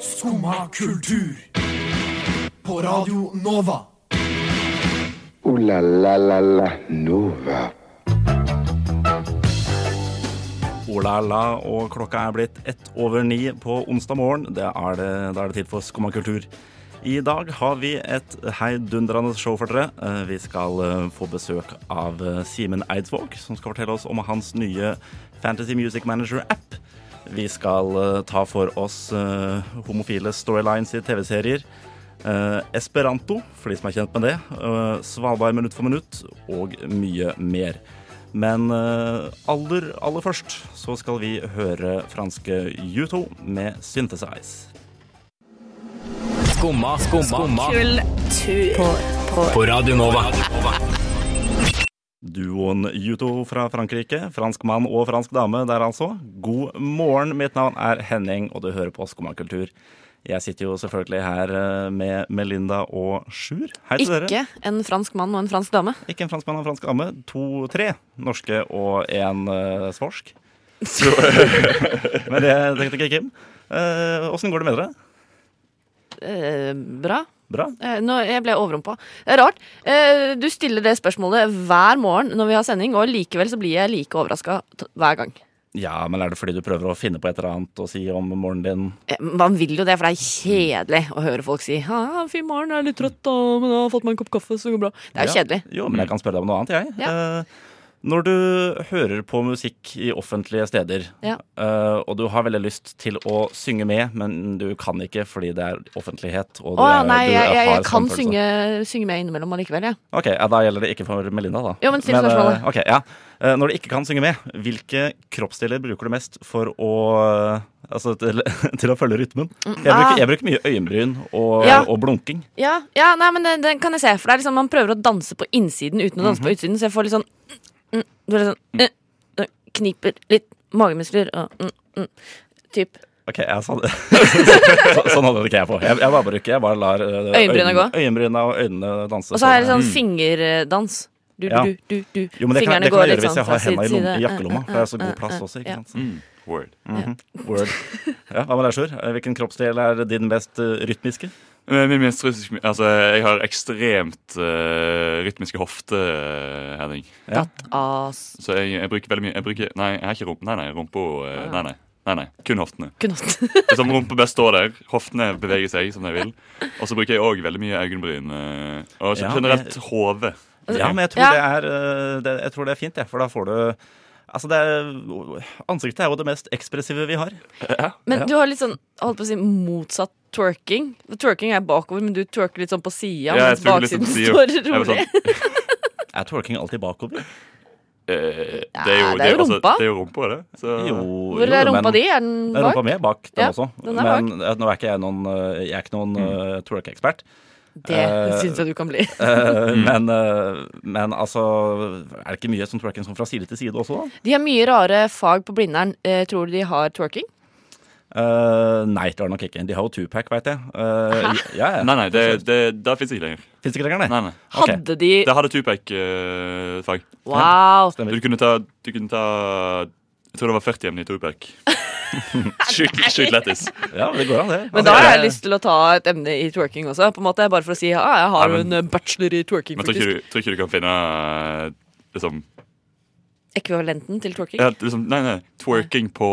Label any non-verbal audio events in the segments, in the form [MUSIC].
Skumma kultur. På Radio Nova. Ooh la la la la Nova. Olala, og klokka er blitt ett over ni på onsdag morgen. Det er det, da er det tid for Skumma kultur. I dag har vi et heidundrende show for dere. Eh, Vi skal eh, få besøk av eh, Simen Eidsvåg, som skal fortelle oss om hans nye Fantasy Music Manager-app. Vi skal eh, ta for oss eh, homofile storylines i TV-serier. eh, Esperanto, for de som er kjent med det. eh, Svalbard minutt for minutt, og mye mer. Men eh, aller, aller først så skal vi høre franske U2 med Synthesize. Skumma, skumma, skumma Kultur. På, på. på Radio Nova. Duoen U2 fra Frankrike, fransk mann og fransk dame der altså. God morgen, mitt navn er Henning, og du hører på Skumma kultur. Jeg sitter jo selvfølgelig her eh, med Melinda og Sjur. Hei til dere. Ikke en fransk mann og en fransk dame. Ikke en fransk mann og en fransk dame. To, tre norske og en eh, [LAUGHS] svorsk. Men det tenkte ikke Kim. Åssen går det med dere? Eh, bra. Bra? Eh, nå, jeg ble overrumpa. Det er rart. Eh, du stiller det spørsmålet hver morgen når vi har sending, og likevel så blir jeg like overraska hver gang. Ja, men er det fordi du prøver å finne på et eller annet og si om morgenen din? Eh, man vil jo det, for det er kjedelig å høre folk si «Ja, 'fin morgen, jeg er litt trøtt, da, men jeg har fått meg en kopp kaffe, så det går bra'. Det er jo Ja. kjedelig. Jo, men jeg kan spørre deg om noe annet, jeg. Eh, når du hører på musikk i offentlige steder, Ja. eh, og du har veldig lyst til å synge med, men du kan ikke fordi det er offentlighet og du Å ja, er- nei, du jeg, jeg, har sånn jeg kan skamfølelse. synge, synge med innimellom allikevel, jeg. Ok, ja, Da gjelder det ikke for Melinda, da. Jo, men still spørsmålet. eh, ok, ja. Eh, Når du ikke kan synge med, hvilke kroppsdeler bruker du mest for å eh, Altså til, [LAUGHS] til å følge rytmen? Jeg ah. bruker, jeg bruker mye øyenbryn og, Ja. og blunking. Ja, ja nei, men den, den kan jeg se. For det er liksom, man prøver å danse på innsiden uten å danse Mhm. på utsiden. Så jeg får litt sånn mm, mm, Du er litt sånn mm, mm, Kniper litt magemuskler og mm, mm, Typ. Ok, ja, sånn, [LAUGHS] så, sånn hadde det ikke jeg på. Jeg, jeg bare bruker, jeg bare lar eh, Øyenbryna øyn- gå? øyenbryna og øynene danse. Og så har jeg sammen. sånn fingerdans. Du, Mm. Ja. du, du, du. jo, men det kan, Fingrene det kan går jeg litt gjøre hvis sånn jeg har fra henda i, side Mm, til lom, i side. jakkelomma, [LAUGHS] for det er så god plass også. ikke ja. sant? Word. Word. Ja, Hva med deg, Sjur? Eh, Hvilken kroppsdel er din mest eh, rytmiske? Men Min minst rytmiske, altså, jeg har ekstremt eh, rytmiske hofte, eh, Henning. As. Så jeg, jeg bruker veldig mye jeg bruker, Nei, jeg har ikke rumpe. Nei, nei, rumpa eh, nei, nei, nei, nei. Kun hoftene. Knott. Som rumpa best står der. Hoftene beveger seg som de vil. Og så bruker jeg òg veldig mye øyenbryn. eh, Og så Ja, generelt hode. Ja, men jeg tror, Ja. det, er, eh, det, jeg tror det er fint, jeg, for da får du Altså, det er, Ansiktet er jo det mest ekspressive vi har. [LAUGHS] Men du har litt sånn holdt på å si, motsatt twerking. Twerking er bakover, men du twerker litt sånn på sida, Ja, mens jeg twerker litt baksiden sånn på står siden. Jeg var rolig. Er twerking alltid bakover? Eh, Ja, det er jo rumpa. det er jo rumpa, det. Så, Jo, Hvor jo, er rumpa men- di? Er den Det er bak? rumpa mi er bak, den Ja, også. den er men eh, nå er ikke jeg noen, eh, jeg er ikke noen eh, twerk-ekspert. Det Eh, syns jeg du kan bli. Eh, men, eh, men altså Er det ikke mye som twerking sånn fra side til side også, da? De har mye rare fag på Blindern. Eh, tror du de har twerking? Eh, nei, det er det nok ikke. De har jo Tupac, veit jeg. Uh, ja, ja. Nei, nei, det, det, det fins ikke lenger. Fins ikke lenger, nei? Nei, nei. Ok. Hadde de Det hadde eh, Tupac-fag. Wow! Du kunne ta, du kunne ta Jeg tror det var 40 emner [LAUGHS] i Tupac. Sjukt sjukt lættis. Ja, det går an, det. Men da har jeg lyst til å ta et emne i twerking også. På en måte Bare for å si ja, jeg har Nei, jo men- en eh, bachelor i twerking, Men tror faktisk. ikke, du, tror ikke du kan finne eh, liksom, Ekvivalenten til twerking. ja, liksom Nei, nei, twerking på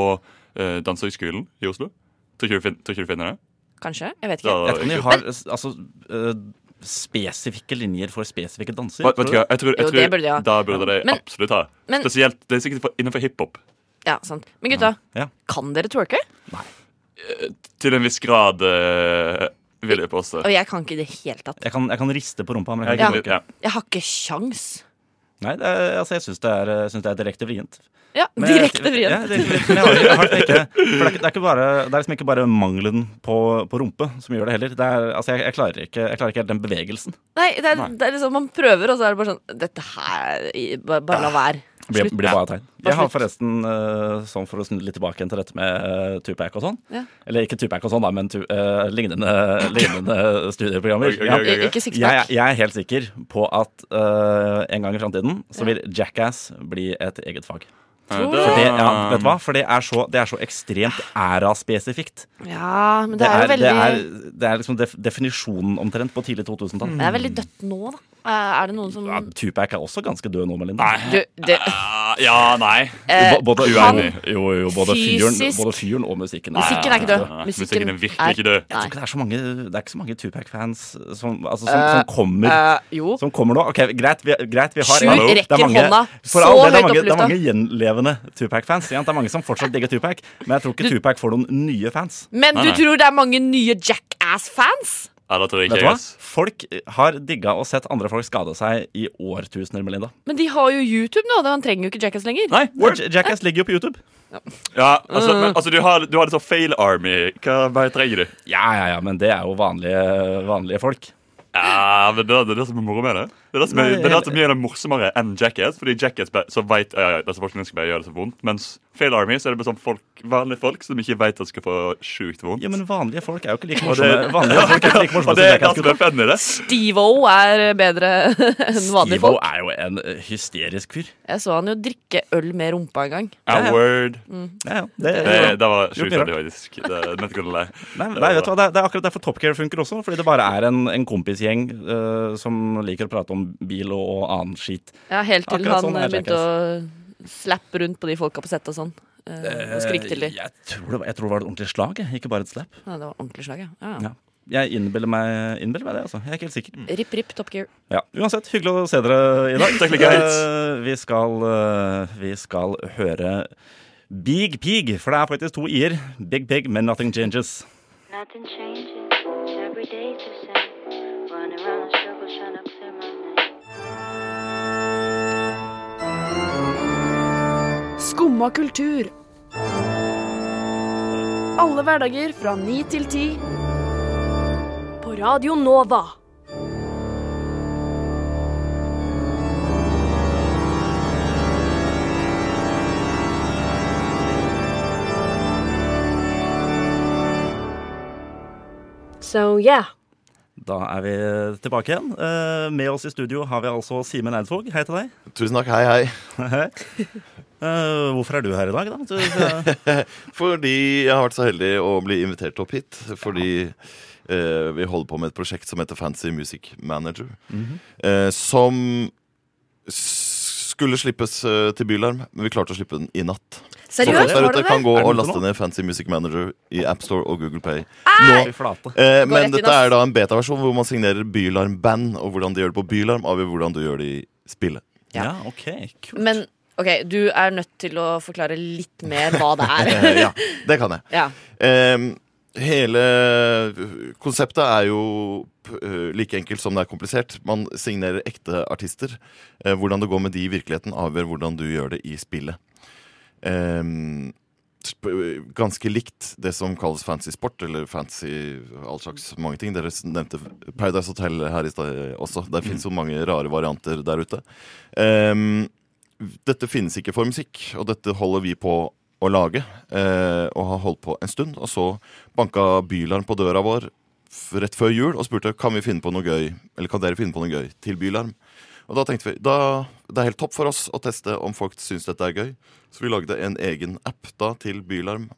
uh, Dansehøgskolen i Oslo? Tror ikke du, fin, tror ikke du finner det? Kanskje? Jeg vet Da, Jeg ikke. vet ikke om de har eh, altså, eh, spesifikke linjer for spesifikke danser. Vet, vet du hva, jeg tror, jeg Jo, tror det burde de ha. Da burde de Men- absolutt ha. men- Spesielt, Det er sikkert for- innenfor hiphop. Ja, sant. Men gutta, Ja. kan dere twerke? Til en viss grad, eh, vil jeg påstå. Og jeg kan ikke i det hele tatt. Jeg kan, jeg kan riste på rumpa. Men jeg Jeg kan kan- ikke twerke. ja. Jeg har ikke sjans. Nei, det er, altså, jeg syns det, er, eh, synes det er direkte vrient. [LAUGHS] Ja, Men jeg- direkte vrient. Ja, direkte vrient, men jeg har- jeg har det ikke. For det er ikke- det er ikke bare- det er liksom ikke bare mangelen på, på rumpe som gjør det heller. Det er, altså, jeg, jeg, klarer ikke, jeg klarer ikke helt den bevegelsen. Nei, det er, det er liksom Man prøver, og så er det bare sånn Dette her i- Bare, bare la være. Blir, Slutt. blir bare tegn. Jeg har slutt. forresten, eh, sånn for å snu litt tilbake igjen til dette med eh, Tupac og sånn Ja. Eller ikke Tupac og sånn, da, men tu, eh, lignende, lignende studieprogrammer. Ok, ok, Ja. ok. I- Ikke Jeg, sixpack. jeg er helt sikker på at eh, en gang i framtiden så vil Jackass bli et eget fag. Tror da- du? For det, ja, Ah. vet du hva? For det er så, det er så ekstremt æraspesifikt. Ja, men det, er jo veldig det, er, det er liksom def definisjonen omtrent på tidlig 2000-tall. Det er veldig dødt nå, da. Eh, Er det noen som Ja, Tupac er også ganske død nå, Melinda. Nei. du, det, Ah, Ja, nei. eh, Bo- både, han- jo, jo, både, fyren, fysisk- både fyren og musikken. Musikken er ikke død. Nei, nei, nei. Musikken er virkelig ikke død. Jeg tror Nei. ikke det er så mange, det er ikke så mange Tupac-fans som, altså, som, som kommer. Eh, jo. Som kommer nå? Ok, Greit, vi, greit, vi har Sju Hallo? rekker Det er mange- hånda for så all del, det er høyt mange- opp i Det er lufta. mange gjenlevende Tupac-fans. sant? Det er mange som fortsatt digger Tupac, men jeg tror ikke Tupac får noen nye fans. Men Nei, du nei. tror det er mange nye Jackass-fans? Ja, da tror jeg Vet ikke du jeg, hva? ass. Folk har digga og sett andre folk skade seg i årtusener, Melinda. Men de har jo YouTube nå, da. han trenger jo ikke Jackass lenger. Nei, Og Jackass ligger jo på YouTube. Ja, altså, Uh. men, altså du, har, du har det sånn fail army. Hva mer trenger du? Ja, ja, ja, men det er jo vanlige, vanlige folk. Ja, men det, er- det er det som er moro med det. Det er det som er, Nei, det er det helt- som gjør det morsommere enn Jackass. Fordi Jackass bare- så vet, ja, altså, ja, disse folkene skal bare gjøre det så vondt Mens fail army så er det bare sånn folk, vanlige folk som ikke vet at skal få sjukt vondt. Ja, men vanlige folk er jo ikke like Og det- morsomme. Vanlige folk er ikke [LAUGHS] like morsomme Og som det er det som Jackass-gutta. er fun i det. Steve-O er bedre enn vanlige Ivo folk. er jo en eh, hysterisk fyr. Jeg så han jo drikke øl med rumpa en gang. Ja, ja. A word. Ja, ja, det, Det, det var Jo, sjukt bra. veldig faktisk. Det, jeg vet ikke hvordan det er. Nei, nei, vet du hva, det er, det er akkurat derfor Top Gear funker også. Fordi det bare er en, en kompisgjeng eh, som liker å prate om bil og, og annen skit. Ja, Helt til Akkurat han sånn er eh, begynte å slappe rundt på de folka på settet og sånn. eh, Og skrike til Eh, dem. Jeg tror, det var, jeg tror det var et ordentlig slag, jeg, ikke bare et slap. Ja, det var ordentlig slag, ja. ja. Ja. Jeg innbiller meg, innbiller meg det, altså. Jeg er ikke helt sikker. Ripp, ripp, Top Gear. Ja, Uansett, hyggelig å se dere i dag. [LAUGHS] Takk like helt. Eh, vi, skal, eh, vi skal høre Big Pig, for det er faktisk to i-er. Big Pig, men nothing changes. Nothing changes. Every day's the same. Running around the circle, trying to clear my name. Skumma kultur. Alle hverdager fra ni til ti. På Radio Nova. So yeah. Da er vi tilbake igjen. Eh, med oss i studio har vi altså Simen Eidsvåg. Hei til deg. Tusen takk, hei hei. Eh, hvorfor er du her i dag, da? Du, eh, Fordi jeg har vært så heldig å bli invitert opp hit. Fordi eh, vi holder på med et prosjekt som heter Fancy Music Manager. eh, som s- skulle slippes eh, til Bylarm, men vi klarte å slippe den i natt. Så folk Seriøst, der har ute du kan det? [LAUGHS] gå Er den og ute laste nå? ned Fancy Music Manager i AppStore og Google Pay. fy Nå, flate. eh, rett men i dette dass. er da en betaversjon hvor man signerer Bylarm Band. Og hvordan de gjør det på Bylarm, avgjør hvordan du gjør det i spillet. Ja, Ja. OK. Kult. Men OK, du er nødt til å forklare litt mer hva det er. Eh, [LAUGHS] ja, det kan jeg. ja. Ehm, hele konseptet er jo p- øh, like enkelt som det er komplisert. Man signerer ekte artister. Eh, Hvordan det går med de i virkeligheten, avgjør hvordan du gjør det i spillet. Ehm, sp- ganske likt det som kalles fancy sport, eller fancy all slags mange ting. Dere s- nevnte Paradise Hotel her i stad også. Der fins jo mange rare varianter der ute. Ehm, dette finnes ikke for musikk, og dette holder vi på å lage. eh, og har holdt på en stund. Og så banka Bylarm på døra vår f- rett før jul og spurte kan vi finne på noe gøy Eller kan dere finne på noe gøy til Bylarm. Og da tenkte vi da, det er helt topp for oss å teste om folk syns dette er gøy. Så vi lagde en egen app da til Bylarm.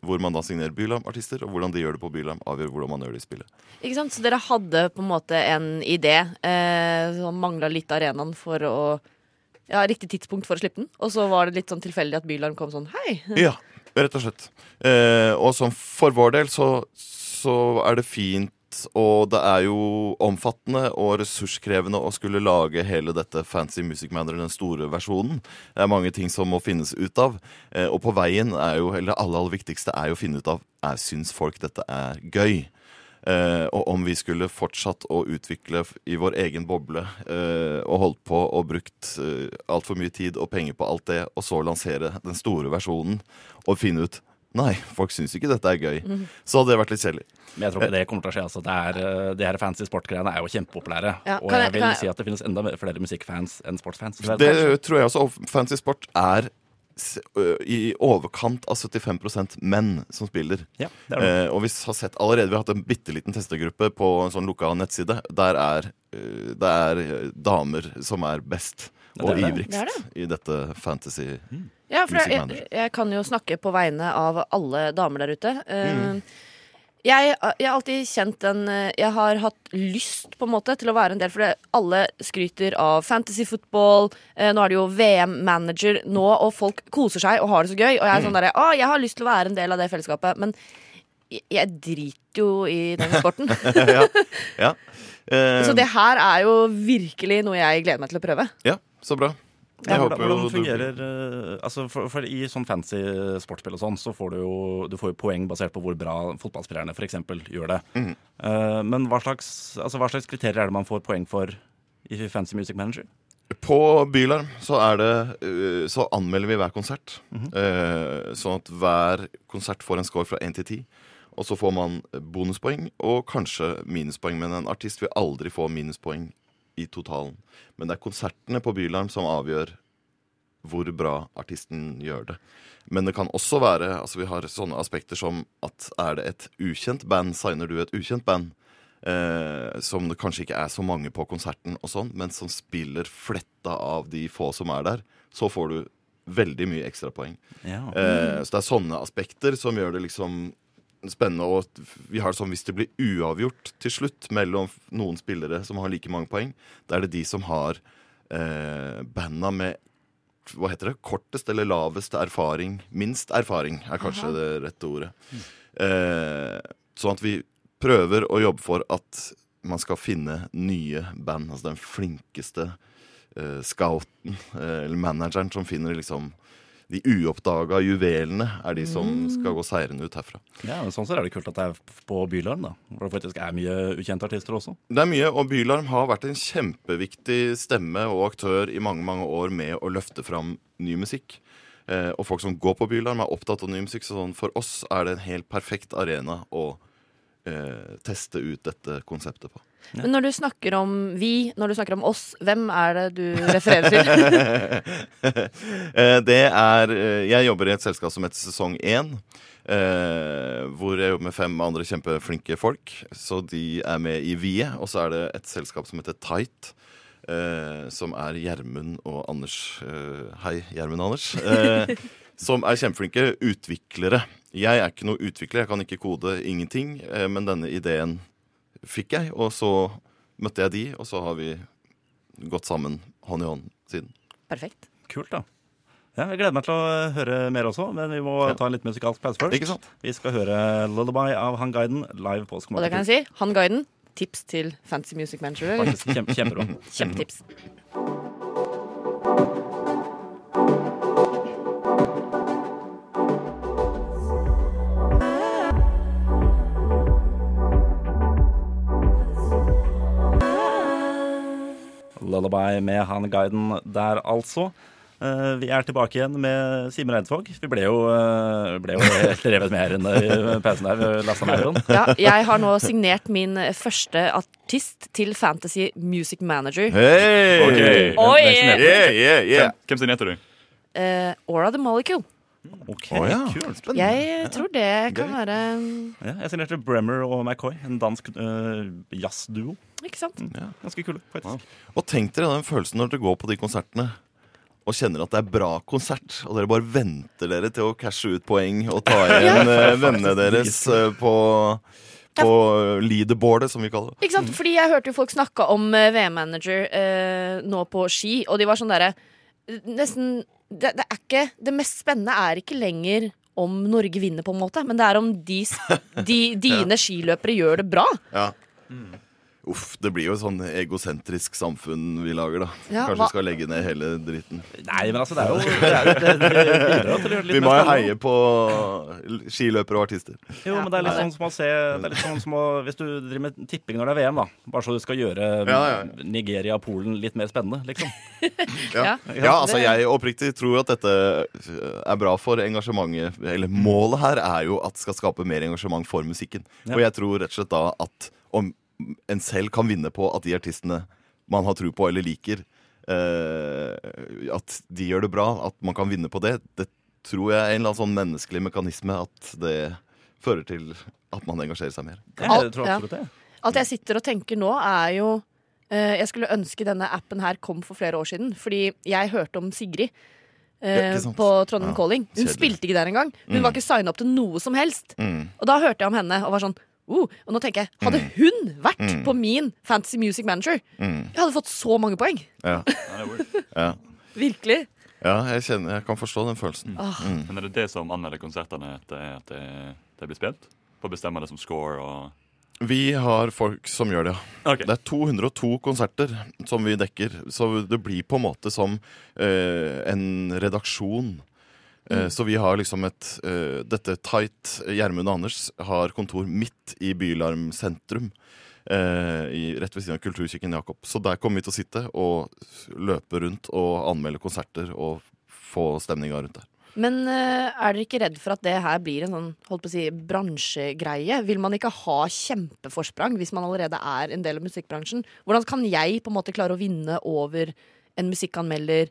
Hvor man da signerer Bylarm-artister, og hvordan de gjør det på Bylarm. avgjør hvordan man gjør det i spillet. Ikke sant? Så dere hadde på en måte en idé eh, som mangla litt arenaen for å ja, Riktig tidspunkt for å slippe den. Og så var det litt sånn tilfeldig at Bylarm kom sånn Hei! Ja, rett og slett. Eh, og som for vår del så, så er det fint, og det er jo omfattende og ressurskrevende å skulle lage hele dette Fancy Music Manager, den store versjonen. Det er mange ting som må finnes ut av. Eh, og på veien er jo, eller det aller, aller viktigste er jo å finne ut av er, syns folk dette er gøy. Eh, og om vi skulle fortsatt å utvikle f- i vår egen boble eh, og holdt på og brukt eh, altfor mye tid og penger på alt det, og så lansere den store versjonen og finne ut Nei, folk syns ikke dette er gøy. Mhm. Så hadde det vært litt kjedelig. Men jeg tror ikke det kommer til å skje. Altså. Det er, eh, de her fancy sportgreiene er jo kjempepopulære. Ja, og kan jeg jeg- vil kan jeg- si at det finnes enda mer- flere musikkfans enn sportsfans. Det tror jeg også. og Fancy sport er s- ø, i overkant av 75 menn som spiller. Ja, det er det. Eh, og vi har sett allerede, vi har hatt en bitte liten testegruppe på en sånn lukka nettside. Der er, eh, det er eh, damer som er best. og det er det. Mm. ivrigst Det er det. i dette fantasy Ja, for jeg, jeg, Musikkmanager. jeg kan jo snakke på vegne av alle damer der ute. Eh, Mm. Jeg, jeg har alltid kjent den eh, Jeg har hatt lyst på en måte til å være en del, for det, alle skryter av fantasy football. eh, Nå er det jo VM-manager nå, og folk koser seg og har det så gøy. Og jeg er Mm. sånn derre Å, jeg har lyst til å være en del av det fellesskapet. Men jeg, jeg driter jo i den sporten. [LAUGHS] ja. [LAUGHS] ja. Eh, så det her er jo virkelig noe jeg gleder meg til å prøve. ja, så bra. Jeg Ja, hvordan, håper jo hvordan du- fungerer eh, altså for, for I sånn fancy sportsspill og sånn, så får du jo du får jo poeng basert på hvor bra fotballspillerne for eksempel gjør det. Mhm. Eh, men hva slags, altså, hva slags kriterier er det man får poeng for i Fancy Music Manager? På Bylarm så, er det, eh, så anmelder vi hver konsert. eh, Sånn at hver konsert får en score fra 1 til 10. Og så får man bonuspoeng og kanskje minuspoeng. Men en artist vil aldri få minuspoeng i totalen. Men det er konsertene på Bylarm som avgjør hvor bra artisten gjør det. Men det kan også være altså Vi har sånne aspekter som at er det et ukjent band, signer du et ukjent band? eh, som det kanskje ikke er så mange på konserten, og sånn, men som spiller fletta av de få som er der, så får du veldig mye ekstrapoeng. Ja. Eh, så det er sånne aspekter som gjør det liksom spennende. Og vi har det sånn hvis det blir uavgjort til slutt mellom noen spillere som har like mange poeng, da er det de som har eh, banda med hva heter det? Kortest eller lavest erfaring. Minst erfaring er kanskje det rette ordet. Eh, sånn at vi prøver å jobbe for at man skal finne nye band. Altså den flinkeste eh, scouten eh, eller manageren som finner liksom de uoppdaga juvelene er de som skal gå seirende ut herfra. ja, men Sånn så er det kult at det er på Bylarm, da. Hvor det faktisk er mye ukjente artister også. Det er mye, og Bylarm har vært en kjempeviktig stemme og aktør i mange mange år med å løfte fram ny musikk. Eh, og folk som går på Bylarm, er opptatt av ny musikk. Så sånn, for oss er det en helt perfekt arena å eh, teste ut dette konseptet på. Men når du snakker om vi, når du snakker om oss, hvem er det du refererer til? [LAUGHS] Eh, det er eh, Jeg jobber i et selskap som heter Sesong 1. Eh, hvor jeg jobber med fem andre kjempeflinke folk. Så de er med i Vie. Og så er det et selskap som heter Tight. Eh, som er Gjermund og Anders. Eh, hei, Gjermund og Anders. Eh, som er kjempeflinke utviklere. Jeg er ikke noe utvikler, jeg kan ikke kode ingenting. Eh, men denne ideen fikk jeg, og så møtte jeg de, og så har vi gått sammen hånd i hånd siden. Perfekt. Kult, da. Ja, jeg gleder meg til å eh, høre mer også, men vi må Ja. ta en litt musikalsk pause først. Ikke sant? Vi skal høre 'Lullaby' av Han Guiden live på Og det kan jeg si. Han guiden. Tips til Fancy Music Manager. Faktisk kjempe, kjempebra. [LAUGHS] Kjempetips. Lullaby med han guiden der, altså. Eh, vi er tilbake igjen med Simen Eidsvåg. Vi ble jo, eh, vi ble jo [LAUGHS] helt revet med her inne i pausen der. eh, Vi lasta ned euroen. Ja, jeg har nå signert min første artist til Fantasy Music Manager. Hei! Ok. Oi! Next, next. Yeah, yeah, yeah. Hvem- Hvem sin heter du? Eh, Aura the Molecule. Ok, Å ja. kult. Jeg tror det kan være Ja, jeg signerte Bremmer og McCoy, en dansk eh, jazzduo. Ikke sant? Ganske kule, faktisk. Og tenk dere den følelsen når dere går på de konsertene og kjenner at det er bra konsert, og dere bare venter dere til å cashe ut poeng og [LAUGHS] ta igjen eh, vennene deres eh, på, på leaderboardet, som vi kaller det. Ikke sant? Fordi jeg hørte jo folk snakke om eh, VM-manager eh, nå på ski, og de var sånn derre Nesten det, det er ikke Det mest spennende er ikke lenger om Norge vinner, på en måte, men det er om de, s- de, dine skiløpere gjør det bra. Ja. Uff, det blir jo et sånn egosentrisk samfunn vi lager, da. Ja, Kanskje hva- vi skal legge ned hele dritten. Nei, men altså, det er jo det, er, jo- det, det bidrar jo til å gjøre det litt Vi mer må jo spennende. heie på skiløpere og artister. Jo, men det er litt sånn som å se det er litt sånn som å, Hvis du driver med tipping når det er VM, da. Bare så du skal gjøre Ja, ja. Nigeria og Polen litt mer spennende, liksom. Ja. Ja. ja, altså jeg oppriktig tror at dette eh, er bra for engasjementet. Eller målet her er jo at det skal skape mer engasjement for musikken. Ja. Og jeg tror rett og slett da at om en selv kan vinne på at de artistene man har tro på eller liker, eh, at de gjør det bra, at man kan vinne på det, det tror jeg er en eller annen sånn menneskelig mekanisme at det fører til at man engasjerer seg mer. Jeg Alt- tror absolutt det. At jeg sitter og tenker nå, er jo Eh, jeg skulle ønske denne appen her kom for flere år siden, fordi jeg hørte om Sigrid. eh, Ja, ikke sant. på Trondheim Ja, Calling. Hun kjedelig. spilte ikke der engang. Hun var ikke signa opp til noe som helst. Mm. Og da hørte jeg om henne og var sånn oh, Og nå tenker jeg, hadde hun vært på min Fantasy Music Manager, Mm. jeg hadde fått så mange poeng. [LAUGHS] Ja. ja. Virkelig. ja, jeg kjenner Jeg kan forstå den følelsen. Men er det det som anmelder konsertene, at det, at det, det blir spilt? For å bestemme det som score og Vi har folk som gjør det, ja. Ok. Det er 202 konserter som vi dekker, så det blir på en måte som eh, en redaksjon. Eh, Så vi har liksom et eh, Dette tight eh, Gjermund og Anders har kontor midt i Bylarm sentrum. eh, i, rett ved siden av Kulturkirken Jakob. Så der kommer vi til å sitte og løpe rundt og anmelde konserter og få stemninga rundt det. Men eh, er dere ikke redd for at det her blir en sånn holdt på å si, bransjegreie? Vil man ikke ha kjempeforsprang hvis man allerede er en del av musikkbransjen? Hvordan kan jeg på en måte klare å vinne over en musikkanmelder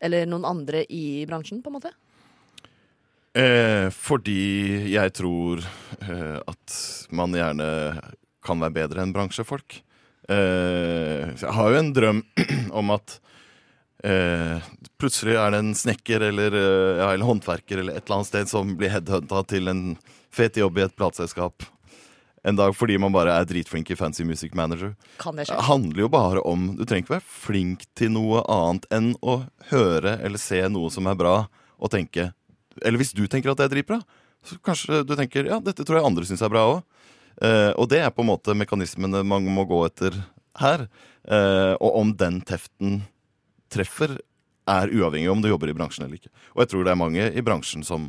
eller noen andre i bransjen? på en måte? Eh, fordi jeg tror eh, at man gjerne kan være bedre enn bransjefolk. Eh, så jeg har jo en drøm [CLEARS THROAT] om at eh, plutselig er det en snekker eller, eh, ja, eller håndverker eller et eller annet sted som blir headhunta til en fet jobb i et plateselskap en dag fordi man bare er dritflink i Fancy Music Manager. Kan det Det skje? handler jo bare om Du trenger ikke være flink til noe annet enn å høre eller se noe som er bra, og tenke Eller hvis du tenker at det er dritbra, så kanskje du tenker ja, dette tror jeg andre syns er bra òg. Eh, og det er på en måte mekanismene man må gå etter her. Eh, og om den teften treffer, er uavhengig om du jobber i bransjen eller ikke. Og jeg tror det er mange i bransjen som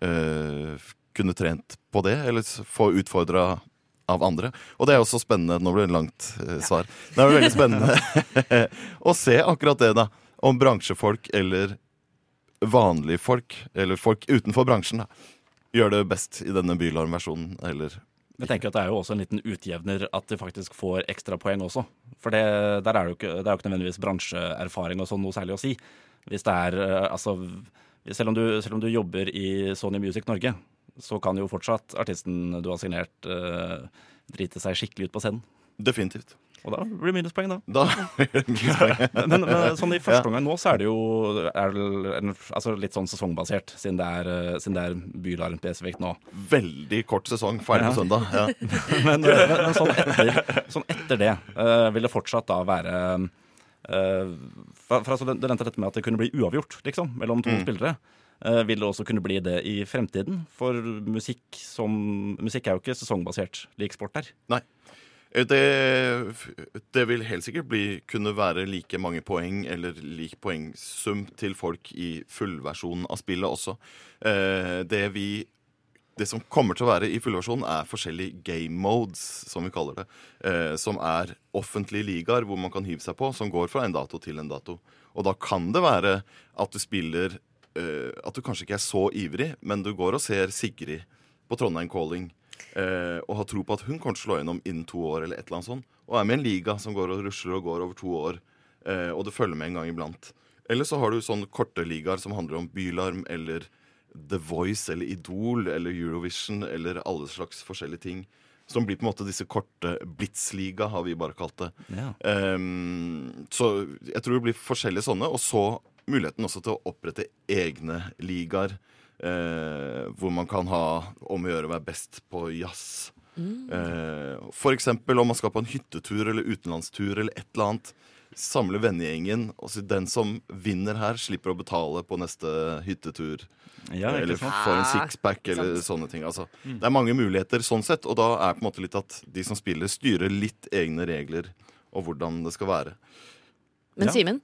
eh, kunne trent på det, eller s- få utfordra av andre. Og det er jo så spennende. Nå ble det langt eh, svar. Det er jo veldig spennende [LAUGHS] å se akkurat det, da. Om bransjefolk eller vanlige folk, eller folk utenfor bransjen, da, gjør det best i denne Bylarm-versjonen, eller Jeg tenker at Det er jo også en liten utjevner at de faktisk får ekstrapoeng også. For det, der er det, jo ikke, det er jo ikke nødvendigvis bransjeerfaring og sånn noe særlig å si. Hvis det er, eh, altså, selv, om du, selv om du jobber i Sony Music Norge, så kan jo fortsatt artisten du har signert, eh, drite seg skikkelig ut på scenen. Definitivt. Og da blir det minuspoeng, da. Da [LAUGHS] Men, men sånn i første omgang nå, så er det jo er det vel en, altså litt sånn sesongbasert, siden det er, eh, siden det er Bylarm spesifikt nå. Veldig kort sesong, ferdig på Ja. søndag. Ja. Men, men, men sånn, etter, sånn etter det eh, vil det fortsatt da være eh, for, for altså, Du du nevnte dette med at det kunne bli uavgjort liksom, mellom Mm. to spillere. Eh, vil det også kunne bli det i fremtiden? For musikk, som, musikk er jo ikke sesongbasert lik sport er. Det, det vil helt sikkert bli, kunne være like mange poeng eller lik poengsum til folk i fullversjonen av spillet også. Eh, det vi det som kommer til å være i fullversjonen, er forskjellige game modes, som vi kaller det. Eh, som er offentlige ligaer hvor man kan hive seg på, som går fra en dato til en dato. Og da kan det være at du spiller eh, At du kanskje ikke er så ivrig, men du går og ser Sigrid på Trondheim Calling eh, og har tro på at hun kommer til å slå gjennom innen to år, eller et eller annet sånt. Og er med i en liga som går og rusler og går over to år, eh, og du følger med en gang iblant. Eller så har du sånne korte ligaer som handler om Bylarm eller The Voice eller Idol eller Eurovision eller alle slags forskjellige ting. Som blir på en måte disse korte Blitzliga, har vi bare kalt det. Ehm, så jeg tror det blir forskjellige sånne. Og så muligheten også til å opprette egne ligaer. eh, hvor man kan ha om å gjøre å være best på jazz. Eh, for eksempel om man skal på en hyttetur eller utenlandstur eller et eller annet. Samle vennegjengen. Og så den som vinner her, slipper å betale på neste hyttetur. Ja, ikke eller sant? Mm. får en sixpack Ah, sant. eller sånne ting. Altså, Det er mange muligheter sånn sett, og da er på en måte litt at de som spiller, styrer litt egne regler og hvordan det skal være. Men Ja. Simen,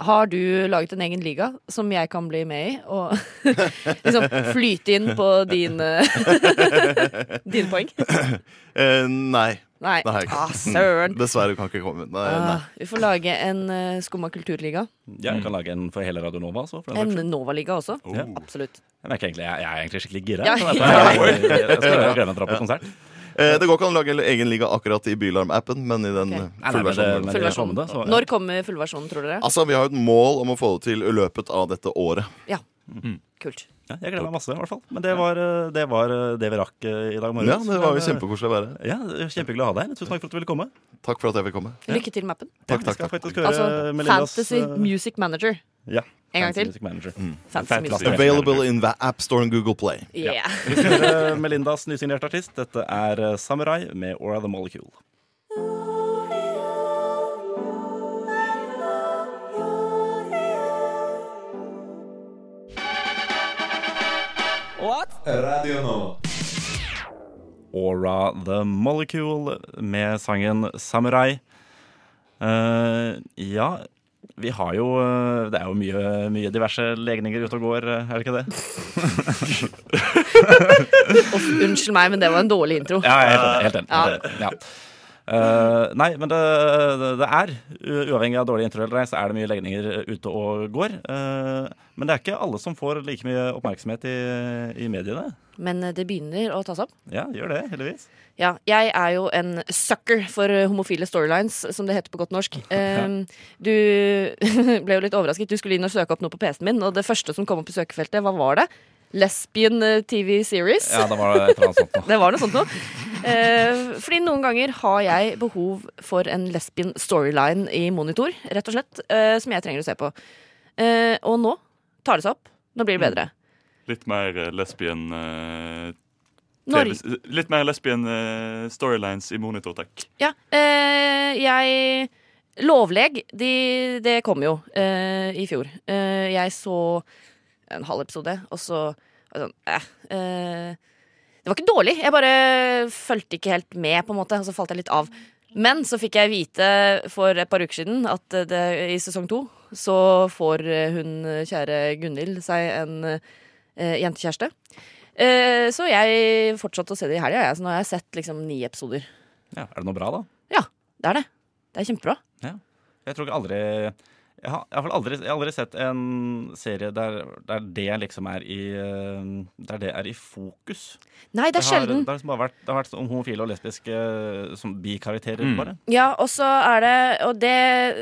har du laget en egen liga som jeg kan bli med i? Og [LAUGHS] liksom flyte inn på dine, [LAUGHS] dine poeng? Eh, nei. Nei. det har jeg ikke. Ah, søren. [LAUGHS] Dessverre kan jeg ikke komme. Nei, nei. Ah, vi får lage en uh, skumma kulturliga. Ja, jeg kan lage en for hele Radio Nova. Så, for den En saks skyld. Nova-liga også. Ja. Absolutt. jeg, merker egentlig, jeg, jeg er egentlig skikkelig gira. Ja, så [LAUGHS] jeg, ja. jeg, jeg, jeg, jeg, skal- jeg gleder meg til å dra på konsert. Eh, det går ikke an å lage egen liga akkurat i Bylarm-appen, men i den Ok. Nei, okay. nei, men det- men det fullversjonen. Full versjon. kommende, så- Ah. Når kommer fullversjonen, tror dere? Altså, Vi har jo et mål om å få det til i løpet av dette året. Ja. Kult. Ja, jeg gleder meg masse, i hvert fall. Men det var eh, det, var, eh, det vi rakk eh, i dag morges. Ja, det var Men, jo eh, kjempekoselig å være her. Ja, det var Kjempehyggelig å ha deg her. Tusen takk for at du ville komme. Takk for at jeg fikk komme. Lykke til med appen. Takk, Vi takk, skal takk. faktisk høre Altså Melillas, Fantasy eh, Music Manager. Ja. En gang Fantasy til. Music Manager. Fantasy Music. Fantasy. Available in the App Store and Google Play. Yeah. Vi skal høre Eh, Melindas nysignerte artist. Dette er eh, Samurai med Aura the Molecule. Aura the Molecule med sangen Samurai. Eh, ja, vi har jo eh, Det er jo mye, mye diverse legninger ute og går, eh, er det ikke det? Uff, unnskyld meg, men det var en dårlig intro. Ja, jeg er helt enig. Helt enig. Ja. Eh, nei, men det, det er, u- uavhengig av dårlig intro eller ei, så er det mye legninger ute og går. Eh, men det er ikke alle som får like mye oppmerksomhet i, i mediene. Men eh, det begynner å ta seg opp. Ja, gjør det, heldigvis. Ja, jeg er jo en sucker for eh, homofile storylines, som det heter på godt norsk. Ehm, du [LAUGHS] ble jo litt overrasket. Du skulle inn og søke opp noe på PC-en min, og det første som kom opp i søkefeltet, hva var det? Lesbian eh, TV series? Ja, det var et eller annet sånt noe. Det var noe sånt noe. Eh, fordi noen ganger har jeg behov for en lesbian storyline i monitor, rett og slett, eh, som jeg trenger å se på. Eh, og nå tar det seg opp. Nå blir det bedre. Litt mer eh, lesbian eh, Norge, TV s- Litt mer lesbian eh, storylines i monitor, takk. Ja, eh, jeg Lovleg, de, det kom jo eh, i fjor. Eh, jeg så en halv episode, og så var jeg sånn eh, eh, Det var ikke dårlig, jeg bare fulgte ikke helt med, på en måte, og så falt jeg litt av. Men så fikk jeg vite for et par uker siden at eh, det, i sesong to så får eh, hun kjære Gunhild seg en eh, jentekjæreste. Eh, så jeg fortsatte å se det i helga, jeg. Så nå har jeg sett liksom ni episoder. [LAUGHS] Ja, er det noe bra, da? Ja, det er det. Det er kjempebra. Jeg tror ikke aldri Jeg har, jeg har vel aldri, jeg har aldri sett en serie der, der det liksom er i eh, Der det er i fokus. Nei, det er har, sjelden. Det har, liksom bare vært, det har vært sånn homofile og lesbiske eh, som bikarakterer, bare. Ja, og så er det Og det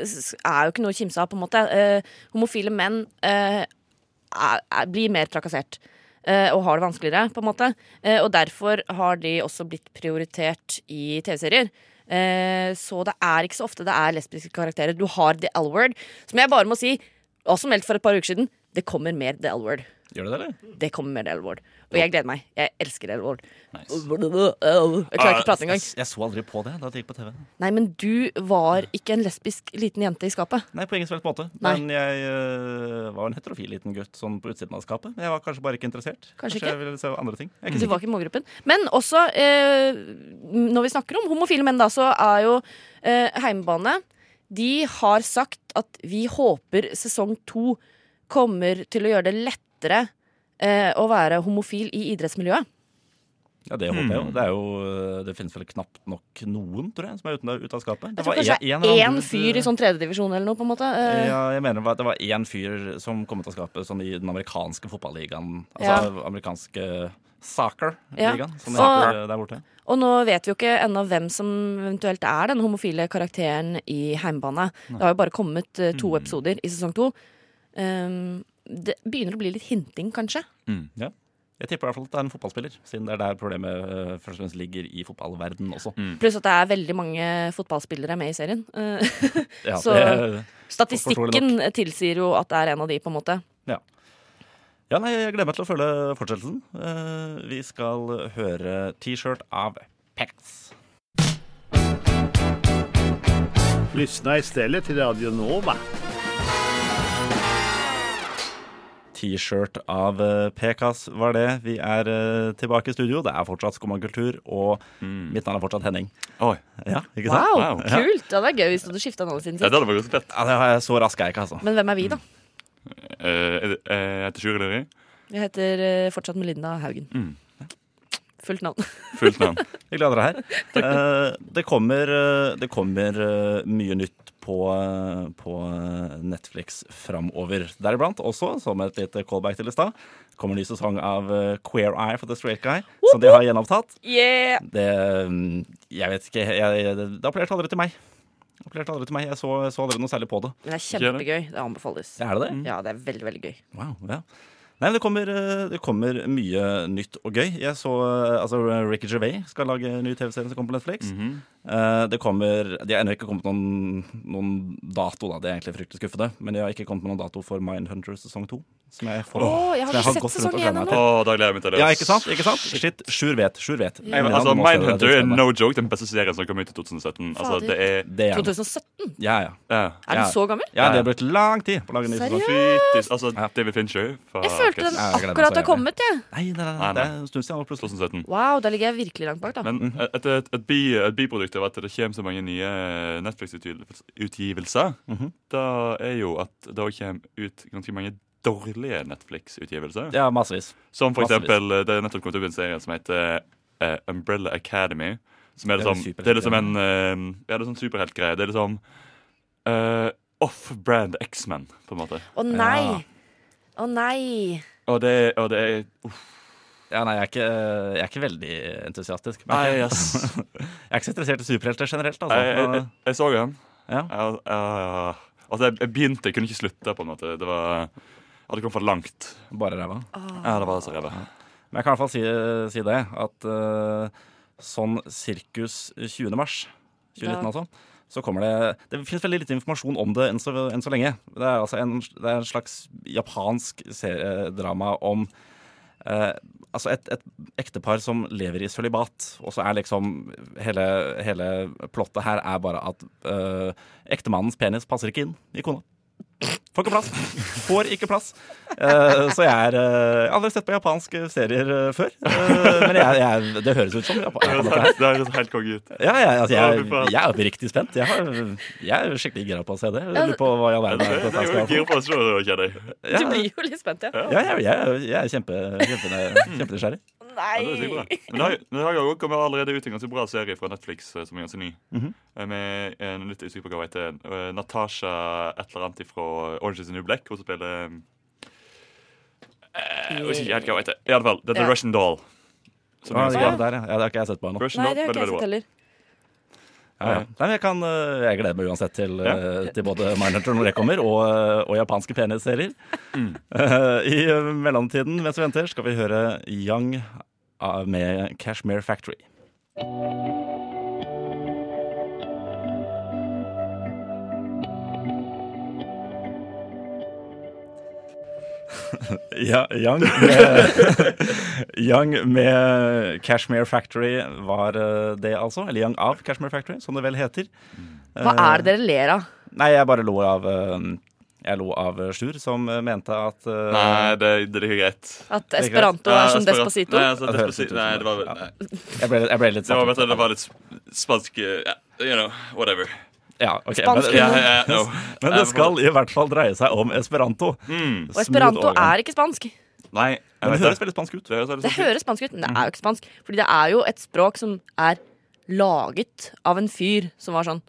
s- er jo ikke noe å kimse av, på en måte. Eh, homofile menn eh, er, er, blir mer trakassert. eh, og har det vanskeligere, på en måte. Eh, og derfor har de også blitt prioritert i TV-serier. Eh, så det er ikke så ofte det er lesbiske karakterer. Du har The L-word, som jeg bare må si, og som meldt for et par uker siden, det kommer mer The L-word. Gjør det det, eller? Det kommer mer The L-word. Og jeg gleder meg. Jeg elsker The L-word. Nice. Ah, Jeg klarer ikke å prate engang. Jeg, jeg så aldri på det da det gikk på TV. Nei, men du var ikke en lesbisk liten jente i skapet. Nei, på ingen som helst måte. Nei. Men jeg eh, var en heterofil liten gutt sånn på utsiden av skapet. Men jeg var kanskje bare ikke interessert. Kanskje ikke. Mm. jeg ville se andre ting. Jeg er ikke Du var ikke i målgruppen. Men også, eh, når vi snakker om homofile menn, da, så er jo eh, Heimebane De har sagt at vi håper sesong to kommer til å gjøre det lettere eh, å være homofil i idrettsmiljøet. Ja, Det håper jeg jo. Det, er jo. det finnes vel knapt nok noen, tror jeg, som er ute av, ute av skapet. Jeg tror kanskje det er én fyr i sånn tredjedivisjon eller noe, på en måte. Eh, Ja, jeg mener det var- det var én fyr som kom ut av skapet sånn i den amerikanske fotballigaen. Altså amerikanske soccer-ligaen, som det Soccer. heter der borte. Og nå vet vi jo ikke ennå hvem som eventuelt er den homofile karakteren i Heimbane. Det har jo bare kommet eh, Mm. to episoder i sesong to. Um, det begynner å bli litt hinting, kanskje. Ja. Jeg tipper i hvert fall at det er en fotballspiller, siden det er der problemet eh, først og fremst ligger i fotballverden også. Pluss at det er veldig mange fotballspillere med i serien. Eh, [LAUGHS] Ja, Så- det, Statistikken tilsier jo at det er en av de, på en måte. ja, nei, jeg gleder meg til å følge fortsettelsen. Eh, Vi skal høre T-shirt av Pex. Lyssna istället till Radio Nova. T-shirt av eh, Pekas var det. Vi er eh, tilbake i studio. Det er fortsatt Skummakultur, og mitt navn er fortsatt Henning. Oi, Mm. Ja, ikke sant? Wow, Wow. kult! Ja, det er gøy hvis du hadde skifta navnet siden ja, sist. Det hadde vært ganske fett. Ja, det er, så rask er jeg ikke, altså. Men hvem er vi, da? Eh, er det- eh, Jeg heter Sjuri Løri. Jeg heter eh, fortsatt Melinda Haugen. Mm. Fullt navn. Fullt [LAUGHS] navn. Hyggelig å ha dere her. Eh, Det kommer, eh, det kommer eh, mye nytt på, eh, på eh, Netflix framover. Deriblant også, som et lite callback til i stad, kommer ny sesong av eh, Queer Eye for the Straight Guy, som de har gjenopptatt. [LAUGHS] Yeah! Det mm, Jeg vet ikke jeg, jeg, Det appellerte aldri til meg. Det appellerte aldri til meg. Jeg så, så aldri noe særlig på det. Mm. Men det er kjempegøy. Det anbefales. Er det det? Ja, det er veldig, veldig gøy. Wow, ja. Nei, men det kommer, eh, det kommer mye nytt og gøy. Jeg så eh, altså Ricky Gervais skal lage en ny TV-serie som kommer på Netflix. Mhm. Eh, Det kommer De har ennå ikke kommet med noen, noen dato, da. Det er egentlig fryktelig skuffende. Men de har ikke kommet med noen dato for Mindhunter sesong to. Som jeg, får, Åh, jeg har som ikke sett gått rundt og sesong gledet én meg ennå. til. Å, da gleder jeg meg til det. Ja, ikke sant? ikke sant? Shit, Sjur vet. Sjur vet. Nei, men, altså, Nå må jeg- Mindhunter er no joke den beste serien som kom ut i 2017. Altså, Fader. det er Det er den. 2017? Ja, ja. ja. Er den Ja. så gammel? Ja, det har brukt lang tid på å lage en ny sesong. Seriøst? Fytis, altså, David Fincher fra Jeg følte den jeg gleder meg akkurat så har jævlig. kommet, jeg. Nei, nei, nei, Nei, nei. det er en stund siden. Plutselig. 2017. Wow, da ligger jeg virkelig langt bak, da. Men et, et, et, bi, et biprodukt av at det kommer så mange nye Netflix-utgivelser, da er jo at det også kommer ut ganske mange dårlige Netflix-utgivelser. Ja, massevis. Som for massevis. eksempel eh, det er nettopp kommet opp en serie som heter eh, Umbrella Academy. Som er Det er liksom, en det er liksom en eh, Ja, det er sånn superheltgreie. Det er liksom eh, off-brand X-Men, på en måte. Å Ja. nei! Å nei! Og det, er- og det er Ja, nei, jeg er ikke, eh, jeg er ikke veldig entusiastisk. Men Nei, jeg, er ass. ikke- [LAUGHS] jeg er ikke så interessert i superhelter generelt, altså. Jeg, jeg, jeg, Men, jeg så den. Ja. Jeg, jeg, altså, jeg, jeg begynte, jeg kunne ikke slutte, på en måte. Det var Hadde kommet for langt. Bare ræva. Ja, det var så ræva. Men jeg kan i hvert fall si, si det, at eh, sånn sirkus 20. mars 2019, Ja. altså, så kommer det Det finnes veldig lite informasjon om det enn så, enn så lenge. Det er altså en, det er en slags japansk serie- drama om eh, altså et, et ektepar som lever i sølibat, og så er liksom hele, hele plottet her er bare at eh, ektemannens penis passer ikke inn i kona. Får ikke plass. Får ikke plass. Eh, så jeg er eh, Jeg har aldri sett på japanske serier eh, før. Eh, men jeg, jeg, det høres ut som Japan. Det Japan dette her. høres- det høres helt konge ut. Ja, jeg, altså, Å, fy jeg, faen. jeg er oppriktig spent. Jeg, har, jeg er skikkelig gira på å se det. Jeg lurer på hva i all Det, verden det, er det er jo dette skal gira på å se det, kjenner jeg. Ja, Du blir jo litt spent, ja. ja, jeg, jeg, jeg er kjempe, kjempe, kjempenysgjerrig. Ja, det er sikkert bra. Men det har, jo- det har jo også kommet allerede ut en ganske bra serie fra Netflix eh, som er ganske ny. Mhm. Eh, Med en litt usikker på hva hun heter. eh, Natasha et eller annet fra Orange is the New Black. Hun spiller eh, Jeg vet ikke helt hva hun heter. I alle fall, det er The Ja. Russian Doll. Som er Ja, ganske Ah, ja, bra. der, ja. Ja, det har ikke jeg sett på ennå. Russian Nei, Doll, det har veldig, ikke jeg veldig bra. sett heller. Ja, ja. Nei, men jeg, kan, eh, jeg gleder meg uansett til, eh, til både Mindhunter når det kommer, og, eh, og japanske penisserier. Eh, [LAUGHS] I eh, mellomtiden, mens vi venter, skal vi høre Young ah, med Cashmere Factory. [LAUGHS] Ja, Young med, [LAUGHS] Young med Cashmere Factory var eh, det, altså. Eller Young av Cashmere Factory, som det vel heter. Eh, Hva er det dere ler av? Nei, jeg bare lo av eh, Jeg lo av Sjur, som eh, mente at eh, Nei, det, det er ikke greit. At Esperanto er som Despacito? Nei, altså, Det høres ut Despacito. som Nei, det. det var, sånn Ja. nei. jeg, ble, jeg ble litt Det, var, satt vet du, ut. det var litt sp- spansk eh, ja, You know, whatever. Ja, ok, Spansk men, Ja, ja, ja, no. men Eh, det skal i hvert fall dreie seg om esperanto. Mm. Og esperanto er ikke spansk. Nei, jeg Men det vet høres det. veldig spansk ut. Det høres veldig Det spansk ut. høres spansk ut, men det er jo ikke spansk. Fordi det er jo et språk som er laget av en fyr som var sånn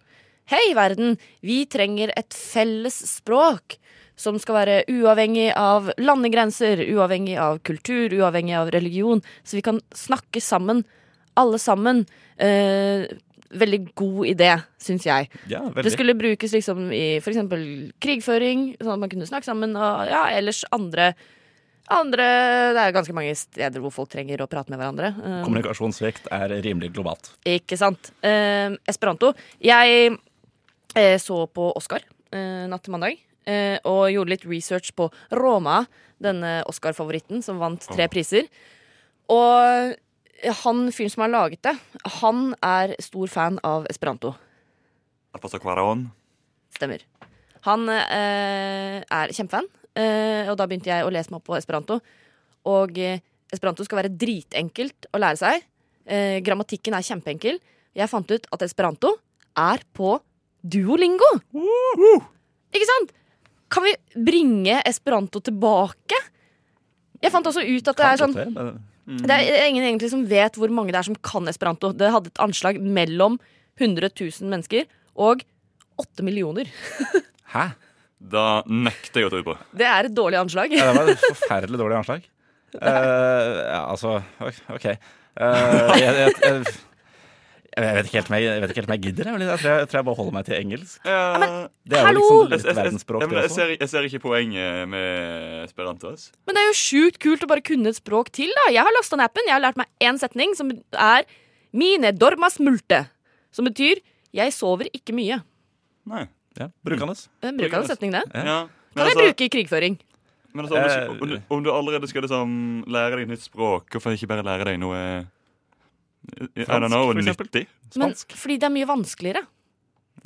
Hei, verden! Vi trenger et felles språk som skal være uavhengig av landegrenser, uavhengig av kultur, uavhengig av religion. Så vi kan snakke sammen, alle sammen. Eh, veldig god idé, syns jeg. Ja, Det veldig. skulle brukes liksom i for eksempel krigføring, sånn at man kunne snakke sammen. Og ja, ellers andre Andre Det er ganske mange steder hvor folk trenger å prate med hverandre. Eh, Kommunikasjonsvekt er rimelig globalt. ikke sant. Eh, Esperanto. Jeg eh, så på Oscar eh, natt til mandag. eh, og gjorde litt research på Roma, denne Oscar-favoritten som vant tre priser. Og han fyren som har laget det, han er stor fan av esperanto. Alfonso Cuarón. Stemmer. Han eh, er kjempefan, eh, og da begynte jeg å lese meg opp på esperanto. Og eh, esperanto skal være dritenkelt å lære seg. Eh, grammatikken er kjempeenkel. Jeg fant ut at esperanto er på duolingo. Ikke sant? Kan vi bringe esperanto tilbake? Jeg fant også ut at det er sånn Kanskje det, men- det er ingen egentlig som vet hvor mange det er som kan esperanto. Det hadde et anslag mellom 100 000 mennesker og 8 millioner. Hæ? Da nekter jeg å tro på. Det er et dårlig anslag. Ja, det var et forferdelig dårlig [LAUGHS] anslag. Eh, ja, altså OK. Eh, jeg, jeg, jeg, Jeg vet ikke helt om jeg, jeg, vet ikke helt om jeg gidder. Jeg, jeg, tror jeg, jeg tror jeg bare holder meg til engelsk. men, Det er jo hallo! liksom litt verdensspråk, Eh, jeg, det jeg, også. ser, jeg ser ikke poenget med esperanto. ass. Men det er jo sjukt kult å bare kunne et språk til, da. Jeg har lasta ned appen. Jeg har lært meg én setning, som er 'mine dormas multe'. Som betyr 'jeg sover ikke mye'. Nei. Ja, Brukende. En brukende setning, det. Ja. Men Kan jeg altså- bruke i krigføring. Men altså, Eh. om, du, ikke- om, du, om du allerede skal liksom, lære deg et nytt språk, hvorfor ikke bare lære deg noe eh, I I don't know, for eksempel. nyttig? Men Spansk. fordi det er mye vanskeligere.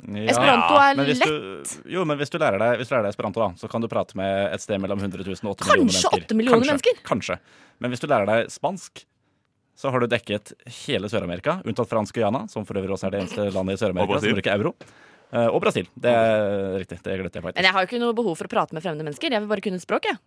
Ja. Esperanto er Men hvis Du, jo, men hvis du, lærer deg, hvis du lærer deg esperanto, da, så kan du prate med et sted mellom 100 000 og 8 millioner Kanskje mennesker. 8 millioner Kanskje, mennesker. Kanskje. Men hvis du lærer deg spansk, så har du dekket hele Sør-Amerika, unntatt Fransk Guyana, som for øvrig også er det eneste landet i Og Sør-Amerika Brasil. som bruker euro. Eh, Og Brasil. Det er riktig. Det glemte jeg Men faktisk. jeg har jo ikke noe behov for å prate med fremmede mennesker. Jeg vil bare kunne et språk, jeg.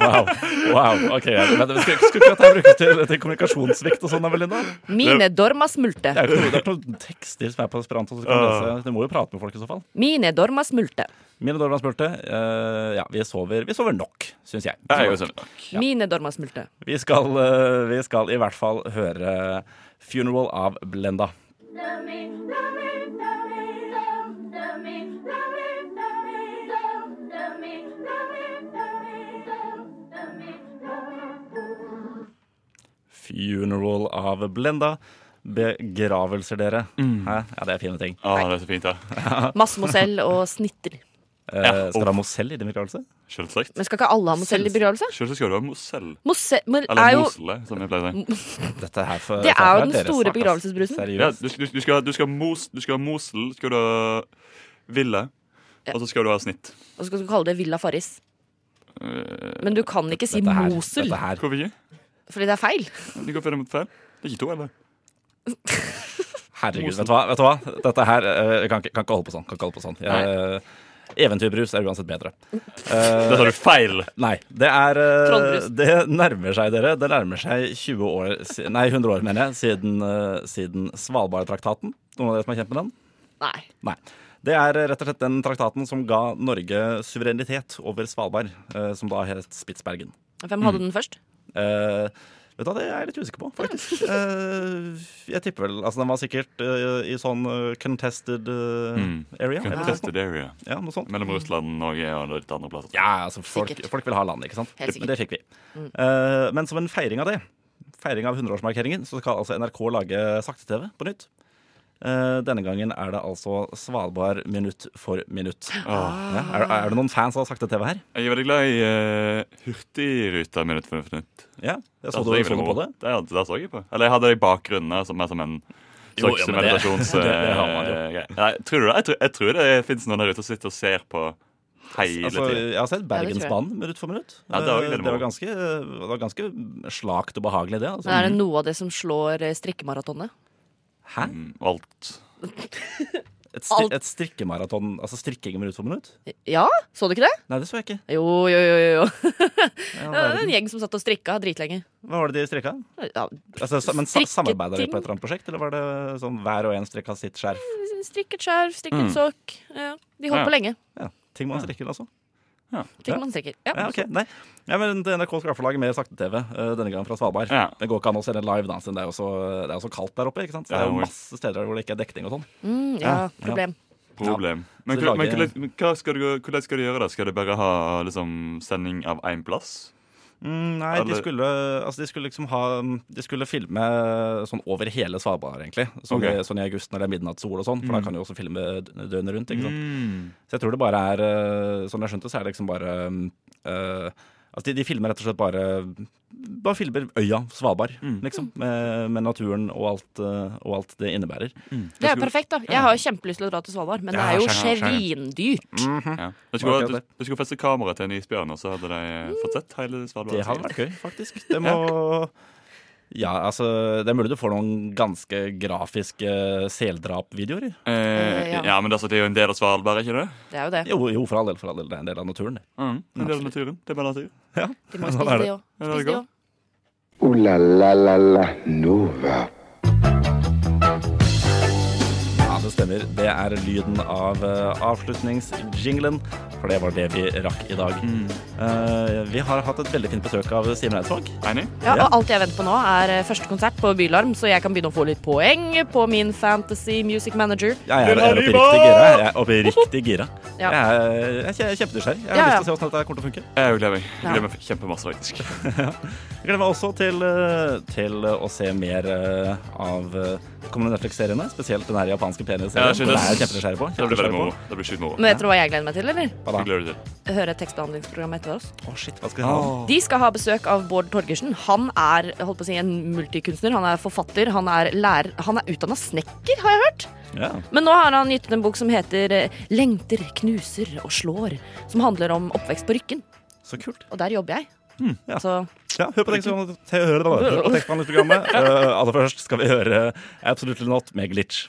Wow. wow. Ok, ja. Men det skulle skulle ikke dette brukes til, til kommunikasjonssvikt og sånn, da, Belinda? Mine dormas multe. Det er jo ikke noe, det er ikke noe tekster som er på esperanto. Så du, kan Ah. lese. du må jo prate med folk i så fall. Mine dormas multe. Mine Dorman spurte. eh, ja, vi sover, vi sover nok, syns jeg. Det er jo sånn. Ja. Mine dormas multe. Vi skal, eh, vi skal i hvert fall høre 'Funeral' av Blenda. Funeral av Blenda. Begravelser, dere. Hæ? Ja, det er fine ting. Å, det er så fint, da. Massmosell og snitter. Eh, Ja, skal du og- ha Mozell i din begravelse? Selvsagt. Men skal ikke alle ha mosell i begravelse? Selvsagt skal du ha Mosell. Mosell men er Eller jo Moselle, som jeg pleier å si. Dette her for, Det dette er her jo den deres store sak, ass. begravelsesbrusen. Ja, Seriøst. du, du, du, skal, du, skal ha mos, du skal ha Mosel, skal du ha Ville, og så skal du ha snitt. Og så skal du kalle det Villa Farris. Men du kan ikke si Øh, Dette her, Mosel, dette her. Hvorfor ikke? fordi det er feil. Det går feil mot feil. Det er ikke to, eller? Herregud, vet du hva? Vet du hva? Dette her eh, kan, ikke- kan ikke holde på sånn. Kan ikke holde på sånn. Jeg, eventyrbrus er uansett bedre. Eh, Dette er du feil. Nei. Det er eh, Trollbrus. Det nærmer seg, dere. Det nærmer seg 20 år si- Nei, 100 år, mener jeg, siden, eh, siden Svalbardtraktaten. Noen av dere som er kjent med den? Nei. Nei. Det er eh, rett og slett den traktaten som ga Norge suverenitet over Svalbard, eh, som da het Spitsbergen. Hvem Mm. hadde den først? Eh, vet du hva, det er jeg litt usikker på, faktisk. Eh, jeg tipper vel Altså, den var sikkert eh, i sånn eh, contested eh, Mm. area. eller noe sånt. Contested area. Ja, noe sånt. Mellom Russland, Norge og litt andre plasser. Ja, altså folk, Sikkert. folk vil ha land, ikke sant? Helt Mm. Men det fikk vi. Eh, men som en feiring av det, feiring av 100-årsmarkeringen, så skal altså NRK lage sakte-TV på nytt. Eh, denne gangen er det altså Svalbard minutt for minutt. Ah. Ja, er, er det noen fans av sakte-TV her? Jeg er veldig glad i uh, Hurtigruta minutt for minutt. Ja, jeg Der så, du, Altså, jeg så du veldig på moro. det? Der, der så jeg på. Eller jeg hadde det i bakgrunnen, altså, mer som en Jo, slags ja, men det- [LAUGHS] meditasjons... det- det har man jo. eh, greie. Nei, tror du det? Jeg tror, jeg tror det finnes noen der ute som sitter og ser på hele Altså, tiden. jeg har sett tror jeg. Bergensbanen minutt for minutt. Ja, det var jo Eh, veldig det var moro. ganske, det var ganske slakt og behagelig, det. Men Altså. er det noe av det som slår eh, strikkemaratonet? Hæ? Mm, Alt. Et, stri Alt. et strikkemaraton? Altså strikking minutt for minutt? Ja, så du ikke det? Nei, det så jeg ikke. Jo, jo, jo. jo, jo. Ja, Det er verden. [LAUGHS] en gjeng som satt og strikka dritlenge. Hva var det de strikka? Ja, Altså, sa- men sa Strikketing. Samarbeida de på et eller annet prosjekt, eller var det sånn hver og en strikka sitt skjerf? strikket skjerf, strikket Mm. sokk. Ja, de holdt Ja. på lenge. Ja, Ting man strikker, altså. Ting Ja. man strikker. Ja. Ja, ok, nei. Ja, men NRK skal i hvert fall lage mer sakte-TV, eh, denne gangen fra Svalbard. Ja. Det går ikke an å se den live, da, siden det er jo så, det er jo så kaldt der oppe. ikke sant? Så det er Ja, jo hvor- masse steder hvor det ikke er dekning og sånn. Mm, ja, Ja, ja. problem. Problem. Men, Så hvor- men lager- hvordan, men hva skal du, hvordan skal du gjøre det? Skal du bare ha liksom, sending av én plass? Mm, nei, de Eller- skulle, altså de skulle liksom ha De skulle filme sånn over hele Svalbard, egentlig. Sånn, Ok. i, sånn i august når det er midnattssol og sånn, for da kan du også filme dø- døgnet rundt. ikke sant? Mm. Så jeg tror det bare er eh, Som jeg skjønte, så er det liksom bare eh, Altså de, de filmer rett og slett bare mm, Bare filmer øya Svalbard, liksom. Med, med naturen og alt, eh, og alt det innebærer. Det er jo perfekt, da. Jeg har jo kjempelyst til å dra til Svalbard, men det Ja, er jo skjønner, skjønner. svindyrt. Ja. Jeg skulle, Akkurat det. jeg skulle feste kamera til en isbjørn, og så hadde de eh, fått sett hele Svalbard. Det hadde vært gøy, faktisk. Det må Ja, altså Det er mulig du får noen ganske grafiske eh, seldrapvideoer. Eh, Eh, ja. ja. men altså, det er jo en del av Svalbard, er ikke det? Det er jo det. Jo, jo, for all del. For all del. Det er en del av naturen, det. Mm. En del av naturen. Det er bare natur. Ja, De må jo sånn spise er de det. òg. Ja, det er Spise de godt. òg. Ooh la la la la Nova. Ja, det stemmer. Det er lyden av eh, avslutningsjinglen, for det var det vi rakk i dag. Mm. Eh, vi har hatt et veldig fint besøk av Simen Eidsvåg. Ja, og alt jeg venter på nå, er eh, første konsert på Bylarm, så jeg kan begynne å få litt poeng på min Fantasy Music Manager. Jeg er, jeg er oppriktig gira. Jeg er [LAUGHS] oppriktig gira. Ja. Jeg er, jeg er kje- kjempenysgjerrig. Jeg har Ja, ja. lyst til å se hvordan dette kommer til å funke. Jeg gleder meg. Ja. Jeg gleder meg kjempemasse, faktisk. Jeg gleder meg også til, eh, til å se mer eh, av eh, kommende Netflix-seriene, spesielt den her japanske Ja, penisserien. jeg den er jeg skjønner. kjempenysgjerrig på. Det blir veldig moro. Kjempenysgjerrig på. Det blir sjukt moro. Men vet dere hva jeg gleder meg til, eller? Hva Jeg da? gleder meg til. Høre tekstbehandlingsprogrammet etter oss. Å, shit, hva skal vi ha? De skal ha besøk av Bård Torgersen. Han er holdt på å si, en multikunstner. Han er forfatter, han er lærer Han er utdanna snekker, har jeg hørt. Ja. Men nå har han gitt ut en bok som heter eh, 'Lengter, knuser og slår'. Som handler om oppvekst på Rykken. Så kult. Og der jobber jeg. ja. Så Ja, hør på tekstbehandlingsprogrammet. Hør da, hør på tekstbehandlingsprogrammet. Eh, aller først skal vi høre Absolutely Not med Glitch.